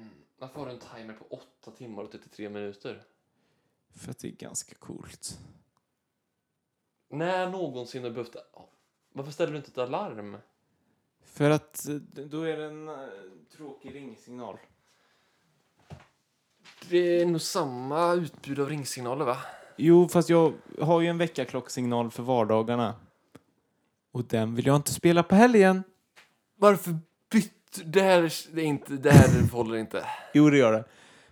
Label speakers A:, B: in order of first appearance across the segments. A: Mm. Varför har du en timer på 8 timmar och 33 minuter?
B: För att det är ganska coolt.
A: När någonsin har du behövt... Ja. Varför ställer du inte ett alarm?
B: För att eh, då är det en eh, tråkig ringsignal.
A: Det är nog samma utbud av ringsignaler, va?
B: Jo, fast jag har ju en väckarklocksignal för vardagarna. Och den vill jag inte spela på helgen.
A: Varför bytte... Det här, det är inte, det här håller inte.
B: Jo, det gör det.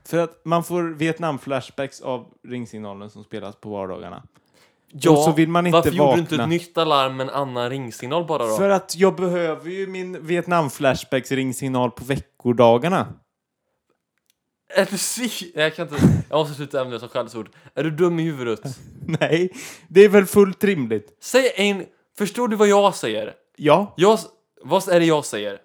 B: För att man får Vietnam-flashbacks av ringsignalen som spelas på vardagarna. Och så vill man inte
A: varför gjorde du inte
B: vakna.
A: ett nytt alarm med en annan ringsignal bara då?
B: För att jag behöver ju min Vietnam-flashbacks-ringsignal på veckodagarna.
A: Är du si... Nej, Jag kan inte... Jag måste sluta använda som skällsord. Är du dum i huvudet?
B: Nej, det är väl fullt rimligt.
A: Säg en... Förstår du vad jag säger?
B: Ja,
A: Jag... s- Vad är det jag säger?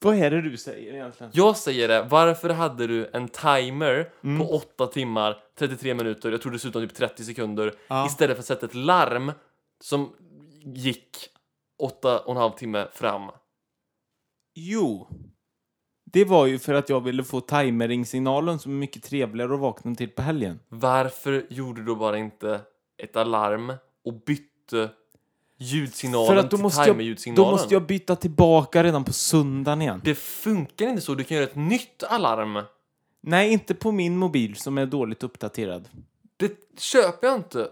B: vad är det du säger egentligen?
A: Jag säger det, varför hade du en timer på
B: Mm.
A: 8 timmar, 33 minuter, jag tror dessutom typ 30 sekunder,
B: Ja.
A: istället för att sätta ett larm som gick 8 och en halv timme fram?
B: Jo, det var ju för att jag ville få timerringsignalen som är mycket trevligare att vakna till på helgen.
A: Varför gjorde du då bara inte ett alarm och bytte ljudsignalen
B: För att då
A: till
B: måste, jag,
A: timer-ljudsignalen?
B: då måste jag byta tillbaka redan på söndagen igen.
A: Det funkar inte så, du kan göra ett nytt alarm.
B: Nej, inte på min mobil som är dåligt uppdaterad.
A: Det köper jag inte.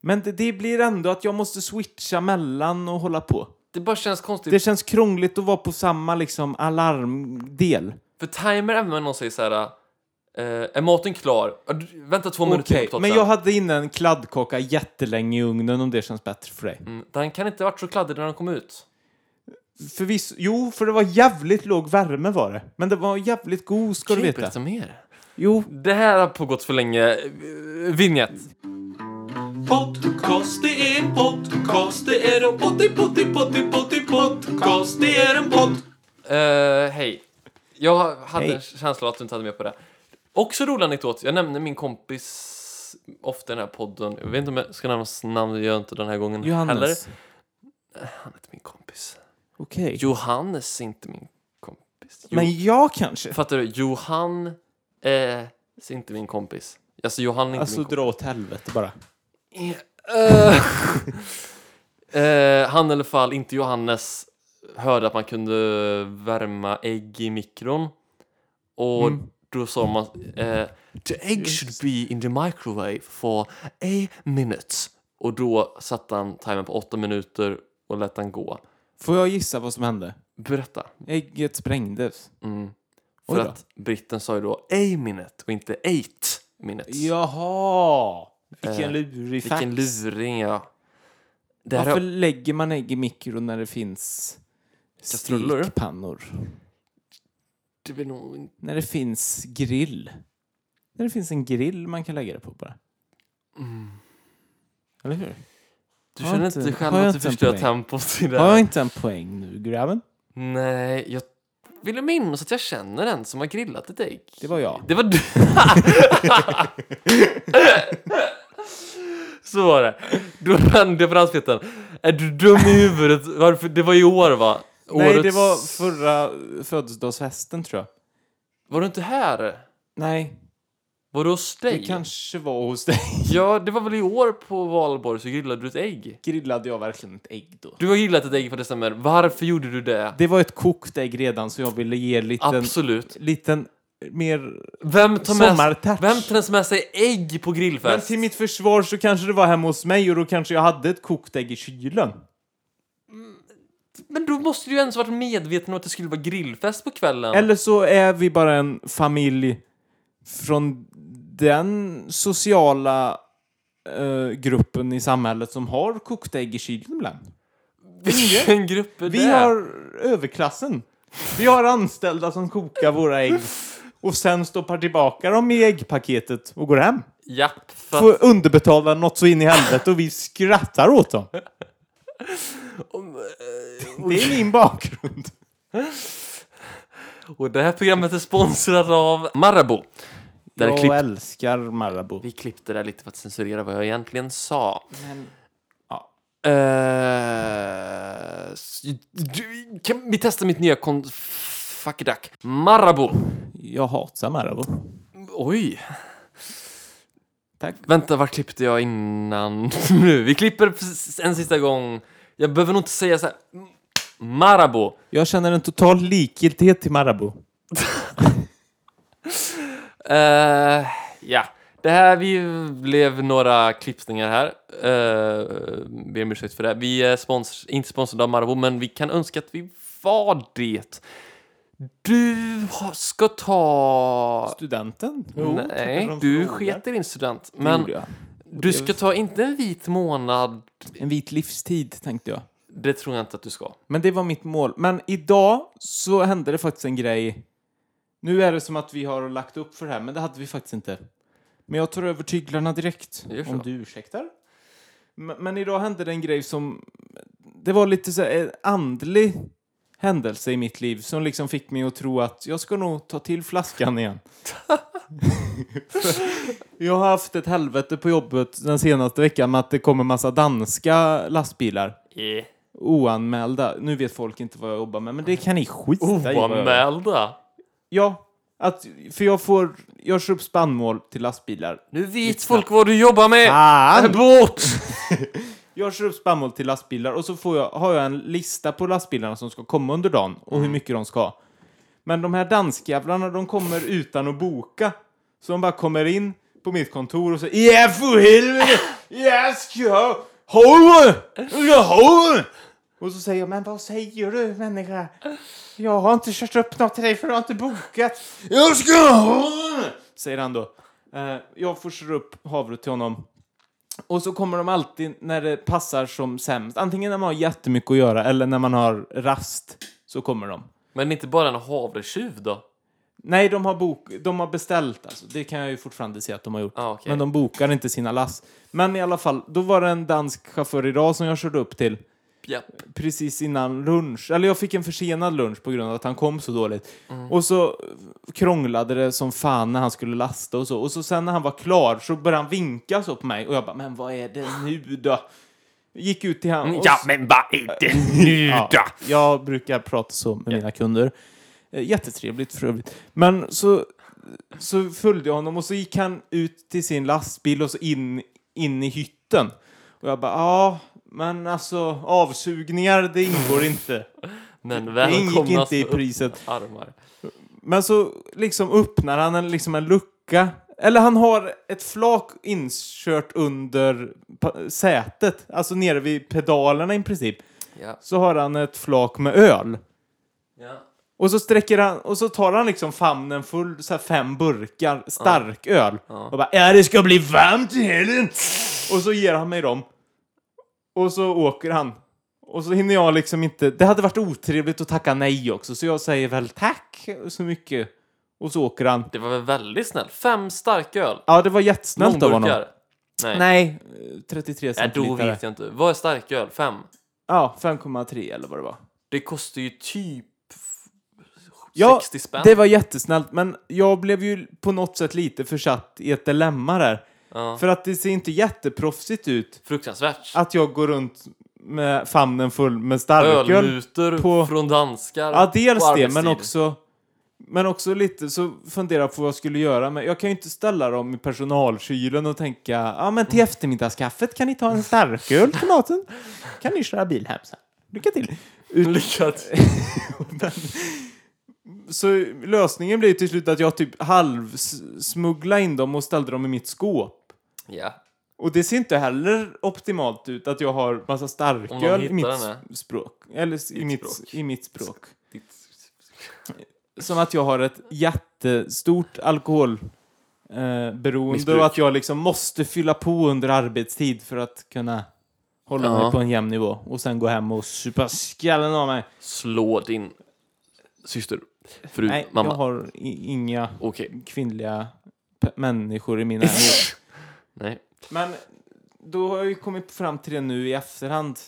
B: Men det, det blir ändå att jag måste switcha mellan och hålla på.
A: Det bara känns konstigt.
B: Det känns krångligt att vara på samma liksom alarmdel.
A: För timer, även om någon säger så här... eh, är maten klar? Ja, du- Vänta två minuter till på
B: Okej,
A: potatisen.
B: men jag hade inne en kladdkaka jättelänge i ugnen om det känns bättre för dig.
A: Mm, Den kan inte ha varit så kladdig när den kom ut.
B: Förvisso, jo, för det var jävligt låg värme var det. Men det var jävligt god ska du
A: Kan inte
B: veta.
A: berätta mer?
B: Jo,
A: Det här har pågått för länge. Vinjet.
C: Podcast, det är podcast, det är en potti, potti, potti, potti, podcast, det är en podd.
A: Eh, Hej. Jag hade
B: Hej.
A: en känsla att du inte hade med på det. Också rolig anekdot. Jag nämnde min kompis ofta i den här podden. Jag vet inte om jag ska nämna hans namn, det gör jag inte den här gången
B: Johannes.
A: heller. Han är inte min kompis.
B: Okej.
A: Johannes är inte min kompis. Jo,
B: Men jag kanske?
A: Fattar du? Johan eh, är inte min kompis. Alltså Johan är inte
B: Alltså
A: min kompis.
B: dra åt helvete bara.
A: Eh, eh, han i alla fall, inte Johannes, hörde att man kunde värma ägg i mikron. Och
B: Mm.
A: då sa man eh, The egg should be in the microwave for a minute. Och då satte han timern på åtta minuter och lät den gå.
B: Får jag gissa vad som hände?
A: Berätta.
B: Ägget sprängdes.
A: Mm.
B: Oj
A: För
B: då.
A: att britten sa ju då a minute och inte eight minutes.
B: Jaha! Vilken
A: Eh,
B: lurig fax.
A: Vilken luring, ja. Det här
B: Varför
A: har-
B: lägger man ägg i mikron när det finns
A: Kastruller?
B: stekpannor?
A: det blir nog inte-
B: När det finns grill? När det finns en grill man kan lägga det på bara.
A: Mm.
B: Eller hur?
A: Du
B: Har
A: känner
B: inte-
A: inte själv
B: har jag
A: att du
B: inte en
A: förstör
B: poäng?
A: tempot i det
B: Har
A: här?
B: jag inte en poäng nu, grabben?
A: Nej, jag vill minnas att jag känner en som har grillat ett ägg.
B: Det var jag.
A: Det var du. Så var det. Då rann det på halsflätten. Är du dum i huvudet? Varför? Det var i år va?
B: Nej, det
A: Årets-
B: var förra födelsedagsfesten tror jag.
A: Var du inte här?
B: Nej,
A: Var du hos
B: det
A: dig?
B: kanske var hos dig.
A: Ja, det var väl i år på valborg så grillade du ett ägg.
B: Grillade jag verkligen ett ägg då?
A: Du har grillat ett ägg för december. Varför gjorde du det?
B: Det var ett kokt ägg redan så jag ville ge en liten,
A: Absolut.
B: liten mer...
A: Vem tar, med,
B: Sommartouch.
A: vem tar med sig ägg på
B: Men
A: grillfest?
B: till mitt försvar så kanske det var hemma hos mig och då kanske jag hade ett kokt ägg i kylen.
A: Men då måste du ju ens varit medveten om att det skulle vara grillfest på kvällen.
B: Eller så är vi bara en familj från den sociala eh, gruppen i samhället som har kokt ägg i kylen ibland.
A: Vilken grupp är
B: Vi
A: det?
B: har överklassen. Vi har anställda som kokar våra ägg och sen stoppar tillbaka dem i äggpaketet och går hem.
A: Japp, för att,
B: Får underbetalda något så in i helvete och vi skrattar åt dem. Det är min bakgrund.
A: och det här programmet är sponsrat av Marabou. Där är
B: jag
A: klipp...
B: älskar Marabou.
A: Vi klippte det här lite för att censurera vad jag egentligen sa.
B: ja.
A: Eh, s- du- kan vi testa mitt nya kon... Fuck it duck. Marabou.
B: Jag hatar Marabou.
A: Oj!
B: Tack.
A: Vänta, var klippte jag innan nu? Vi klipper precis en sista gång. Jag behöver nog inte säga så här. Marabou.
B: Jag känner en total likgiltighet till Marabou.
A: Eh, ja, det här vi blev några klippningar här. Uh, ber om ursäkt för det. Vi är spons- inte sponsrade av Marabou, men vi kan önska att vi var det. Du har- ska ta...
B: Studenten?
A: Nej, du sket i din student. Men du ska ta inte en vit månad.
B: En vit livstid, tänkte jag.
A: Det tror jag inte att du ska.
B: Men det var mitt mål. Men idag så hände det faktiskt en grej. Nu är det som att vi har lagt upp för det här, men det hade vi faktiskt inte. Men jag tar över tyglarna direkt,
A: Gör så.
B: om du ursäktar. Men, men idag hände det en grej som... Det var lite så här, en andlig händelse i mitt liv som liksom fick mig att tro att jag ska nog ta till flaskan igen. jag har haft ett helvete på jobbet den senaste veckan med att det kommer massa danska lastbilar.
A: Eh,
B: Oanmälda. Nu vet folk inte vad jag jobbar med, men det kan ni skita i. Oh, vad jag gör.
A: Oanmälda.
B: Ja. Att, för jag får... Jag kör upp spannmål till lastbilar.
A: Nu vet folk vad du jobbar
B: Ah.
A: med.
B: Fan!
A: Bort!
B: Jag kör upp spannmål till lastbilar och så får jag, har jag en lista på lastbilarna som ska komma under dagen och hur mycket de ska ha. Men de här danskjävlarna, de kommer utan att boka. Så de bara kommer in på mitt kontor och säger Ja, för helvete! Jag ska ha... Håll! Jag håll! Och så säger jag, men vad säger du människa? Jag har inte kört upp något till dig för du har inte bokat. Jag ska ha... Säger han då. Eh, jag får köra upp havre till honom. Och så kommer de alltid när det passar som sämst. Antingen när man har jättemycket att göra eller när man har rast. Så kommer de.
A: Men inte bara en havretjuv då?
B: Nej, de har, bok, de har beställt alltså. Det kan jag ju fortfarande se att de har gjort.
A: Ah, okej.
B: Men de bokar inte sina lass. Men i alla fall, då var det en dansk chaufför idag som jag körde upp till
A: Japp.
B: precis innan lunch. Eller jag fick en försenad lunch på grund av att han kom så dåligt. Och så krånglade det som fan när han skulle lasta och så. Och så sen när han var klar så började han vinka så på mig och jag bara, men vad är det nu då? Gick ut till han. och
A: Mm, Ja, men vad är det nu
B: Eh, Ja,
A: då?
B: jag brukar prata så med mina kunder. Eh, Jättetrevligt för övrigt. Men så, så följde jag honom och så gick han ut till sin lastbil och så in, in i hytten. Och jag bara, ja, men alltså avsugningar, det ingår inte.
A: Men
B: Det ingick
A: välkomna
B: inte i priset.
A: armar.
B: Men så liksom öppnar han en, liksom en lucka. Eller han har ett flak inkört under pa- sätet, alltså nere vid pedalerna i princip.
A: Ja.
B: Så har han ett flak med öl.
A: Ja.
B: Och så sträcker han, och så tar han liksom famnen full, så här fem burkar stark öl. Och bara ja, det ska bli varmt i helgen! Och så ger han mig dem. Och så åker han. Och så hinner jag liksom inte, det hade varit otrevligt att tacka nej också, så jag säger väl tack så mycket. Och så åker han.
A: Det var väl väldigt snällt? Fem starköl?
B: Ja, det var jättesnällt av honom.
A: Mångburkar? Nej. Nej.
B: Nej, eh, 33
A: då
B: centiliter.
A: vet jag inte. Vad är starköl? Fem?
B: Ja, 5,3 eller vad det var.
A: Det kostar ju typ f- 60 spänn.
B: det var jättesnällt, men jag blev ju på något sätt lite försatt i ett dilemma där.
A: Ja.
B: För att det ser inte jätteproffsigt ut
A: Fruktansvärt.
B: att jag går runt med famnen full med starköl.
A: Ölmutor
B: på-
A: från danskar.
B: Ja, dels
A: på
B: det, men
A: arbetstid.
B: också... Men också lite så fundera på vad jag skulle göra. Men jag kan ju inte ställa dem i personalkylen och tänka ja, men till eftermiddagskaffet kan ni ta en starköl till maten. Kan ni köra bil hem sen. Lycka till! Ut-
A: Lyckat.
B: så lösningen blir till slut att jag typ halvsmuggla in dem och ställde dem i mitt skåp.
A: Ja.
B: Och det ser inte heller optimalt ut att jag har massa
A: Om någon
B: starköl i
A: hittar
B: mitt
A: den här.
B: s- språk. Eller s- i
A: Ditt
B: mitt,
A: språk.
B: i mitt språk.
A: Ditt-
B: Som att jag har ett jättestort alkoholberoende
A: Missbruk.
B: och att jag liksom måste fylla på under arbetstid för att kunna hålla
A: Ja.
B: mig på en jämn nivå och sen gå hem och supa skallen av mig.
A: Slå din syster. Fru,
B: Nej,
A: mamma.
B: jag har i- inga
A: Okej.
B: kvinnliga pe- människor i min närhet.
A: Nej.
B: Men då har jag ju kommit fram till det nu i efterhand.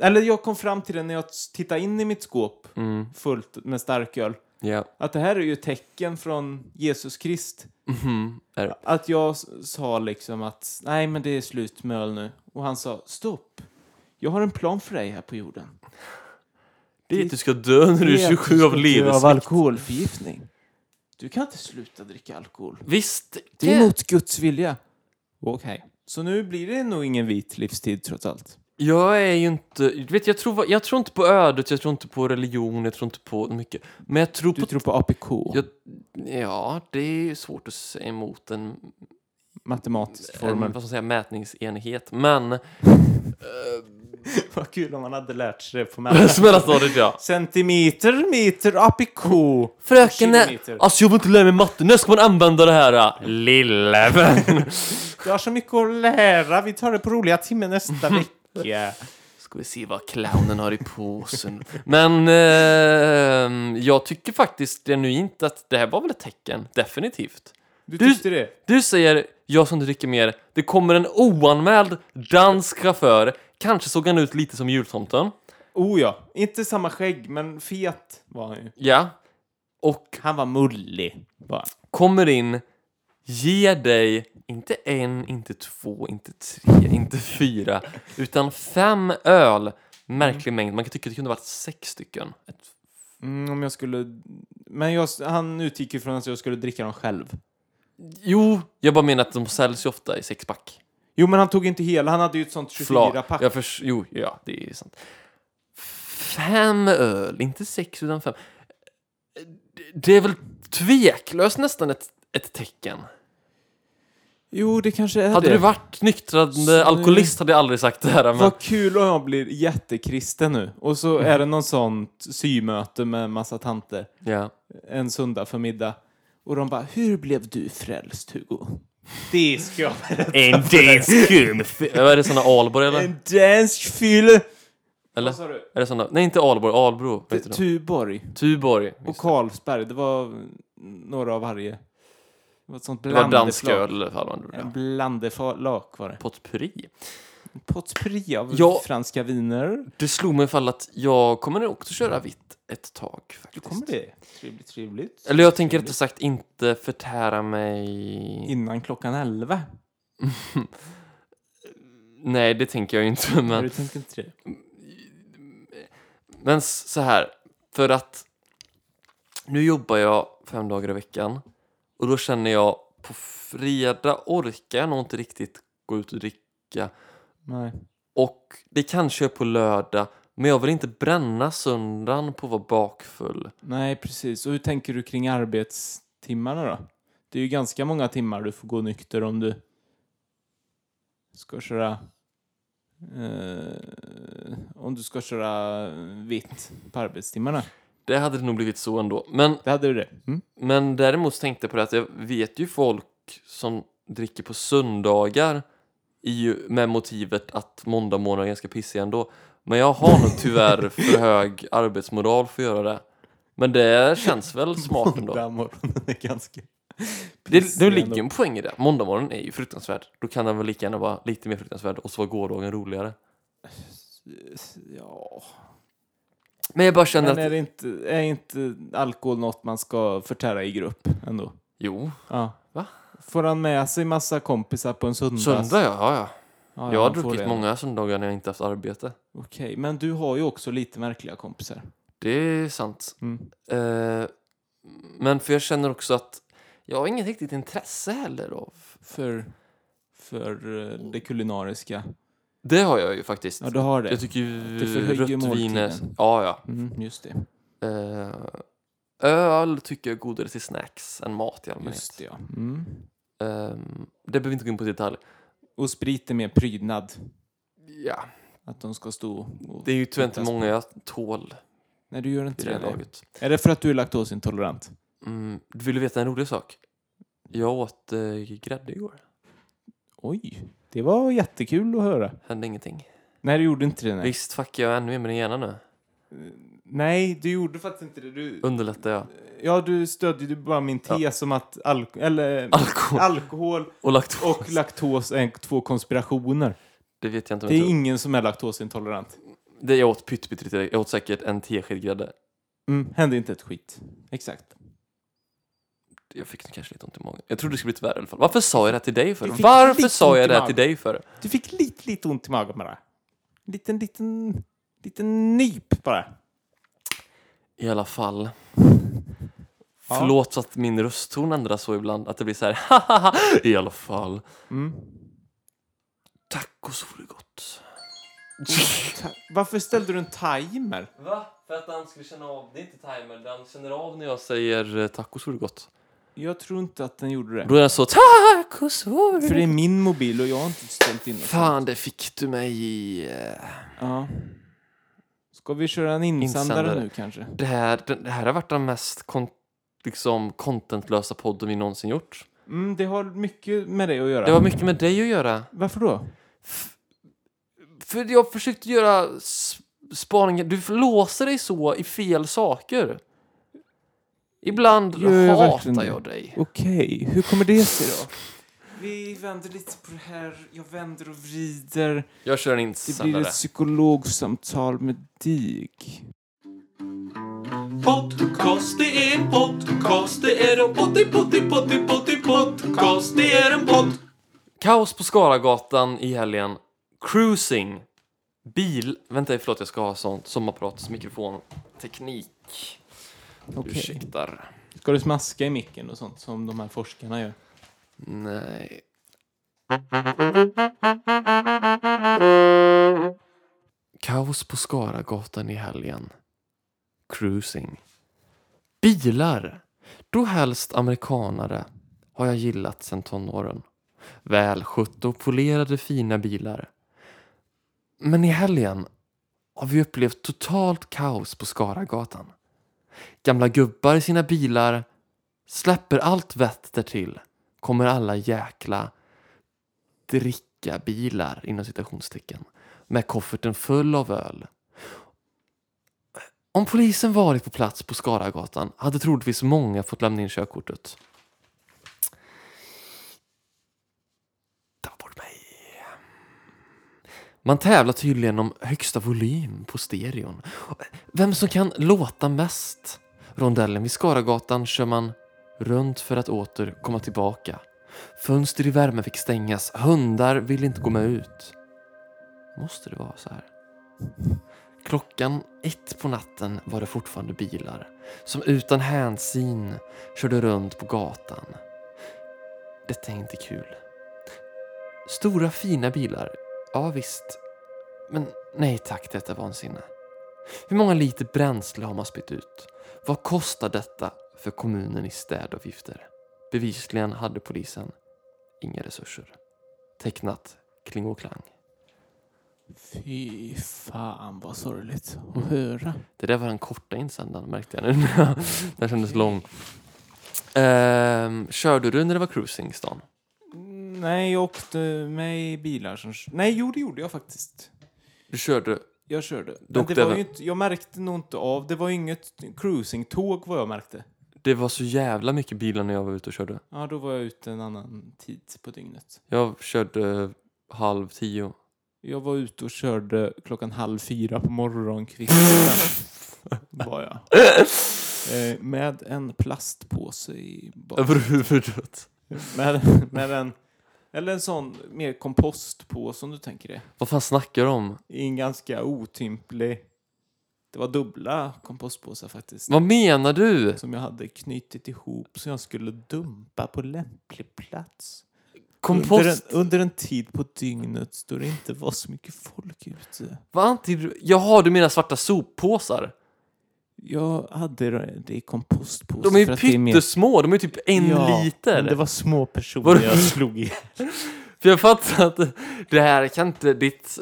B: Eller jag kom fram till det när jag tittade in i mitt skåp
A: Mm.
B: fullt med starköl.
A: Ja.
B: Att det här är ju ett tecken från Jesus Krist.
A: Mhm. Är det.
B: Att jag s- sa liksom att nej, men det är slut med öl nu. Och han sa stopp. Jag har en plan för dig här på jorden.
A: Det är att du ska dö när du
B: Det
A: är
B: att
A: 27 av
B: ska dö
A: leversvikt.
B: Av alkoholförgiftning. Du kan inte sluta dricka alkohol.
A: Visst,
B: Det är mot Guds vilja. Okej. Så nu blir det nog ingen vit livstid trots allt.
A: jag är ju inte... du Vet, jag, tror, jag tror inte på ödet, jag tror inte på religion, jag tror inte på mycket. Men jag tror
B: Du
A: på...
B: tror på APK,
A: Jag, ja, det är ju svårt att säga emot en,
B: matematiskt
A: en vad
B: formel.
A: ska man säga, mätningsenhet. Men...
B: Vad kul om man hade lärt sig det på
A: Mellanstadiet, ja.
B: Centimeter, meter, APK.
A: Fröken, nej,
B: Kilometer.
A: alltså jag vill inte lära mig matte, när ska man använda det här? äh? Lilla vän.
B: Jag har så mycket att lära. Vi tar det på roliga timmen nästa vecka.
A: Ska vi se vad clownen har i påsen. Men eh, jag tycker faktiskt genuint att det här var väl ett tecken, definitivt.
B: Du
A: Du-
B: tyckte det?
A: Du säger, jag som inte dricker mer, det kommer en oanmäld dansk chaufför. Kanske såg han ut lite som jultomten.
B: Oh ja. Inte samma skägg, men fet var han ju.
A: Ja. Och
B: Han var mullig. Bara.
A: kommer in, ger dig inte en, inte två, inte tre, inte fyra, utan fem öl. Märklig mängd. Man kan tycka att det kunde varit sex stycken. Ett-
B: Mm, om jag skulle... Men jag, han utgick ju från att jag skulle dricka dem själv.
A: Jo, jag bara menar att de säljs ju ofta i sexpack.
B: Jo, men han tog inte hela. Han hade ju ett sånt
A: Fla-
B: 24-pack.
A: Jag förs- jo, ja, det är sant. Fem öl, inte sex utan fem. Det- Det är väl tveklöst nästan ett, ett tecken.
B: Jo, det kanske är
A: Hade
B: det.
A: du varit nyktrande
B: Snyggt.
A: alkoholist hade jag aldrig sagt det här. Men
B: Vad kul om jag blir jättekristen nu. Och så är det någon sånt symöte med en massa tanter
A: ja.
B: en söndag förmiddag. Och de bara, hur blev du frälst Hugo? Det ska jag
A: En dansk gumf. Är det såna Alborg eller?
B: En dansk fylle!
A: eller?
B: Vad sa du?
A: Är det såna? Nej, inte Alborg. Albro. vad heter de?
B: Tuborg
A: Tuborg.
B: och
A: Just det.
B: Carlsberg. Det var några av varje. Det var ett sånt
A: Det var
B: blandeflak.
A: dansk öl i alla fall. man gjorde.
B: En blandeflak var det.
A: Potpurri.
B: Potpurri av
A: Ja.
B: franska viner.
A: Det slog mig ifall att jag kommer nog också köra vitt ett tag. Faktiskt.
B: Du kommer det. Trevligt, trevligt.
A: Eller jag tänker rättare sagt inte förtära mig...
B: Innan klockan elva.
A: Nej, det tänker jag ju inte.
B: Har
A: Men,
B: du tänkt inte det?
A: men s- så här, för att nu jobbar jag fem dagar i veckan och då känner jag på fredag orkar jag nog inte riktigt gå ut och dricka
B: Nej.
A: och det kanske är på lördag men jag vill inte bränna söndagen på att vara bakfull.
B: Nej, precis. Och hur tänker du kring arbetstimmarna då? Det är ju ganska många timmar du får gå nykter om du ska köra... Eh, om du ska köra vitt på arbetstimmarna.
A: Det hade det nog blivit så ändå. Men
B: Det hade du det? Mm.
A: Men däremot tänkte jag på det att jag vet ju folk som dricker på söndagar i, med motivet att måndag morgon är ganska pissig ändå. Men jag har nog tyvärr för hög arbetsmoral för att göra det. Men det känns väl smart ändå.
B: morgonen är ganska...
A: Det, det ligger ju en poäng i det. Måndagmorgonen är ju fruktansvärd. Då kan den väl lika gärna vara lite mer fruktansvärd och så var gårdagen roligare.
B: Ja.
A: Men jag bara känner att...
B: Men är, det inte, är inte alkohol något man ska förtära i grupp ändå?
A: Jo,
B: Ja.
A: Va?
B: Får han med sig massa kompisar på en söndag?
A: söndag ja, ja. ja.
B: Ja,
A: Jag har
B: han får
A: druckit
B: det.
A: många söndagar när jag inte haft arbete.
B: Okej, men du har ju också lite märkliga kompisar.
A: Det är sant.
B: Mm.
A: Eh, men för jag känner också att jag har inget riktigt intresse heller av...
B: För, för eh, det kulinariska.
A: Det har jag ju faktiskt.
B: Ja, du har
A: jag
B: det.
A: tycker ju
B: Det förhöjer
A: rött vin är...
B: måltiden.
A: Ja, ja.
B: Mm, just det.
A: Eh, öl tycker jag är godare till snacks än mat i allmänhet.
B: Just det, ja. Mm.
A: Ehm, det behöver vi inte gå in på i detalj.
B: Och sprit är mer prydnad.
A: Ja,
B: Att de ska stå och...
A: det är ju tyvärr inte
B: Tittas på.
A: många jag tål
B: Nej, du gör
A: i
B: inte
A: det
B: det.
A: här
B: nej.
A: laget.
B: Är det för att du är laktosintolerant?
A: Mm, du ville veta en rolig sak? Jag åt eh, grädde igår.
B: Oj, det var jättekul att höra.
A: Hände ingenting.
B: Nej, du gjorde inte det. Nej,
A: Visst fuckar jag ännu mer med din hjärna nu.
B: nej du gjorde faktiskt inte det. Du...
A: Underlättar jag.
B: Ja, du stödde ju bara min tes om att alko... eller...
A: Alkohol
B: alkohol
A: och laktos.
B: och laktos är två konspirationer.
A: Det vet jag inte om
B: Det
A: jag
B: är
A: tror.
B: ingen som är laktosintolerant.
A: Det jag åt pyttelite lite. Jag åt säkert en tesked grädde.
B: Mm, hände inte ett skit. Exakt.
A: Jag fick nog kanske lite ont i magen. Jag trodde det skulle bli värre i alla fall. Varför sa jag det här till dig för?
B: Du fick
A: Varför
B: lite
A: sa
B: ont i
A: jag det här
B: magen.
A: till dig för?
B: Du fick lite, lite ont i magen bara. Liten, liten, liten nyp bara.
A: I alla fall. Förlåt att min röstton ändras så ibland, att det blir så här hahaha, i alla fall.
B: Mm.
A: Tacos vore gott.
B: Ta- Varför ställde du en timer?
A: Va? För att han skulle känna av, det är inte timer, han känner av när jag säger eh, tacos vore gott.
B: Jag tror inte att den gjorde det.
A: Då är jag så tacos vore
B: För det är
A: gott.
B: min mobil och jag har inte ställt in den.
A: Fan, det fick du mig i... eh,
B: Ja. Ska vi köra en insändare,
A: Insändare.
B: nu kanske?
A: Det här, det det här har varit den mest kon, liksom, contentlösa podden vi någonsin gjort.
B: Mm, det har mycket med det att göra.
A: Det har mycket med dig att göra.
B: Varför då?
A: F- För jag försökte göra s- spaningar. Du låser dig så i fel saker. Ibland
B: Gör jag verkligen
A: hatar
B: det?
A: jag dig.
B: Okej, hur kommer det sig då? Vi vänder lite på det här. Jag vänder och vrider.
A: Jag kör en
B: Det blir
A: insändare.
B: ett psykologsamtal med Dig.
C: Podcast, det är en podcast, det är en potti, potti, potti, potti, podcast, det är en podd.
A: Kaos på Skaragatan i helgen. Cruising. Bil. Vänta, förlåt jag ska ha sånt. Sommarprat, mikrofon, teknik.
B: Okej.
A: Ursäktar.
B: Ska du smaska i micken och sånt som de här forskarna gör?
A: Nej. Kaos på Skaragatan i helgen. Cruising. Bilar. Då helst amerikanare har jag gillat sedan tonåren. Välskötta och polerade fina bilar. Men i helgen har vi upplevt totalt kaos på Skaragatan. Gamla gubbar i sina bilar släpper allt vett därtill kommer alla jäkla drickabilar inom citationstecken med kofferten full av öl. Om polisen varit på plats på Skaragatan hade troligtvis många fått lämna in körkortet. Ta bort mig. Man tävlar tydligen om högsta volym på stereon. Vem som kan låta mest. Rondellen vid Skaragatan kör man runt för att åter komma tillbaka. Fönster i värmen fick stängas, hundar ville inte gå med ut. Måste det vara så här? Klockan ett på natten var det fortfarande bilar som utan hänsyn körde runt på gatan. Detta är inte kul. Stora fina bilar, ja visst. Men nej tack, detta är vansinne. Hur många liter bränsle har man spytt ut? Vad kostar detta för kommunen i städavgifter? Bevisligen hade polisen inga resurser. Tecknat Kling och Klang.
B: Fy fan vad sorgligt att höra.
A: Det där var den korta insändaren märkte jag nu. när jag- den kändes lång. Ehm, körde du när det var cruising i stan?
B: Nej, jag åkte med i bilar som... Nej, jo det gjorde jag faktiskt.
A: Du körde...
B: Jag körde.
A: Dock
B: Men det
A: det
B: var
A: var-
B: ju inte, jag märkte nog inte av, det var ju inget cruisingtåg vad jag märkte.
A: Det var så jävla mycket bilar när jag var ute och körde.
B: Ja, då var jag ute en annan tid på dygnet.
A: Jag körde halv tio.
B: Jag var ute och körde klockan halv fyra på morgonkvisten. var jag. Eh, Med en plastpåse i bak.
A: Över huvudet.
B: Med, med en... Eller en sån mer kompostpåse om du tänker det.
A: Vad fan snackar du om?
B: I en ganska otymplig... Det var dubbla kompostpåsar faktiskt.
A: Vad menar du?
B: Som jag hade knutit ihop så jag skulle dumpa på lämplig plats. Under, en,
A: Kompost?
B: under en tid på dygnet då det inte var så mycket folk ute.
A: Vad anti... Jaha, du menar svarta soppåsar?
B: Jag hade det i kompostpåse.
A: De är
B: för
A: ju
B: att det mer-
A: pyttesmå, de är typ en
B: Ja,
A: liter.
B: men Det var små personer
A: Var det-
B: jag slog i.
A: För jag fattar att det här kan inte ditt...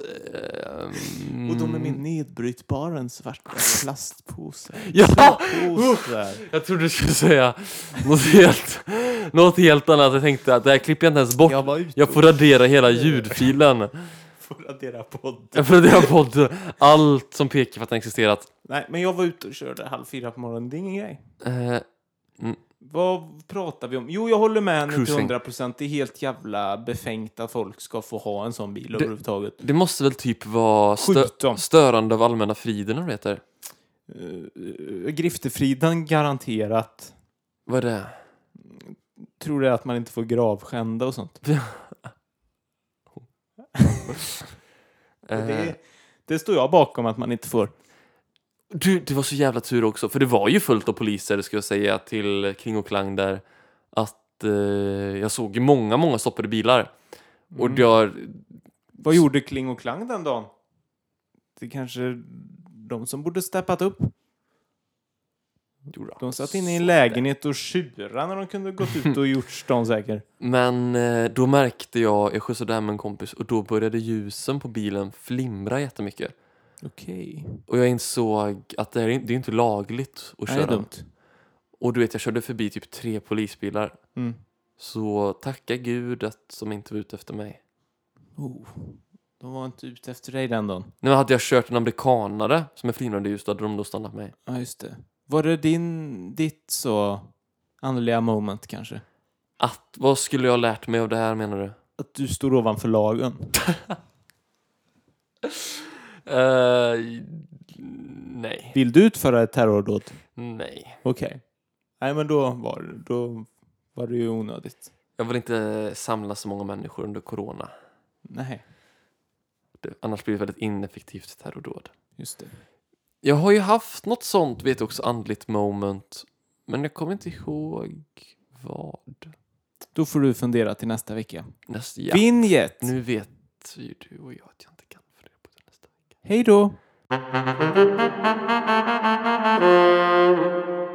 A: ehm,
B: Och de är min nedbrytbara en svarta plastpåse.
A: Ja!
B: Plastpåsar.
A: Jag trodde du skulle säga något helt, något helt annat. Jag tänkte att det här klipper jag inte ens bort.
B: Jag var ute
A: Jag får radera hela ljudfilen.
B: och raderade podd.
A: Jag får radera bort allt som pekar på att den existerat.
B: Nej, men jag var ute och körde halv fyra på morgonen. Det är ingen grej.
A: Eh,
B: Vad pratar vi om? Jo, jag håller med henne till
A: Cruising.
B: 100 procent. Det är helt jävla befängt att folk ska få ha en sån bil överhuvudtaget.
A: det måste väl typ vara stö-
B: Skjut dem.
A: störande av allmänna friden, eller vad det heter.
B: Uh, griftefriden garanterat.
A: Vad är det?
B: Tror det är att man inte får gravskända och sånt.
A: Eh, Eh,
B: Eh. Det, det står jag bakom att man inte får.
A: Du, det var så jävla tur också, för det var ju fullt av poliser ska jag säga till Kring och Klang där. Att eh, jag såg ju många, många stoppade bilar.
B: Mm.
A: Och jag,
B: Vad gjorde Kling och Klang den dagen? Det kanske de som borde steppat upp. De satt inne i en lägenhet och tjurade när de kunde gått ut och gjort stan säker.
A: Men eh, då märkte jag, jag skjutsade hem en kompis och då började ljusen på bilen flimra jättemycket.
B: Okej.
A: Och jag insåg att det, här, är in- det är inte lagligt att
B: Det är
A: köra.
B: dumt.
A: och du vet, jag körde förbi typ tre polisbilar.
B: Mm.
A: Så tacka gud att de inte var ute efter mig.
B: Oh. De var inte ute efter dig den dagen.
A: Nej, men hade jag kört en amerikanare som är flimrande ljus, då hade de då stannat mig.
B: Ja, just det. Var det din, ditt så andliga moment kanske?
A: Att, vad skulle jag ha lärt mig av det här menar du?
B: Att du står ovanför lagen?
A: Eh, nej.
B: Vill du utföra ett terrordåd?
A: Nej.
B: Okej. Nej, men då var, då var det ju onödigt.
A: Jag vill inte samla så många människor under corona.
B: Nej,
A: Det, annars blir det väldigt ineffektivt terrordåd.
B: just det.
A: Jag har ju haft något sånt, vet jag också, andligt moment. Men jag kommer inte ihåg vad.
B: Då får du fundera till nästa vecka.
A: Nästa,
B: Ja.
A: ja.
B: Vinjet!
A: Nu vet ju du och jag att jag inte kan fundera på det nästa vecka.
B: Hej då!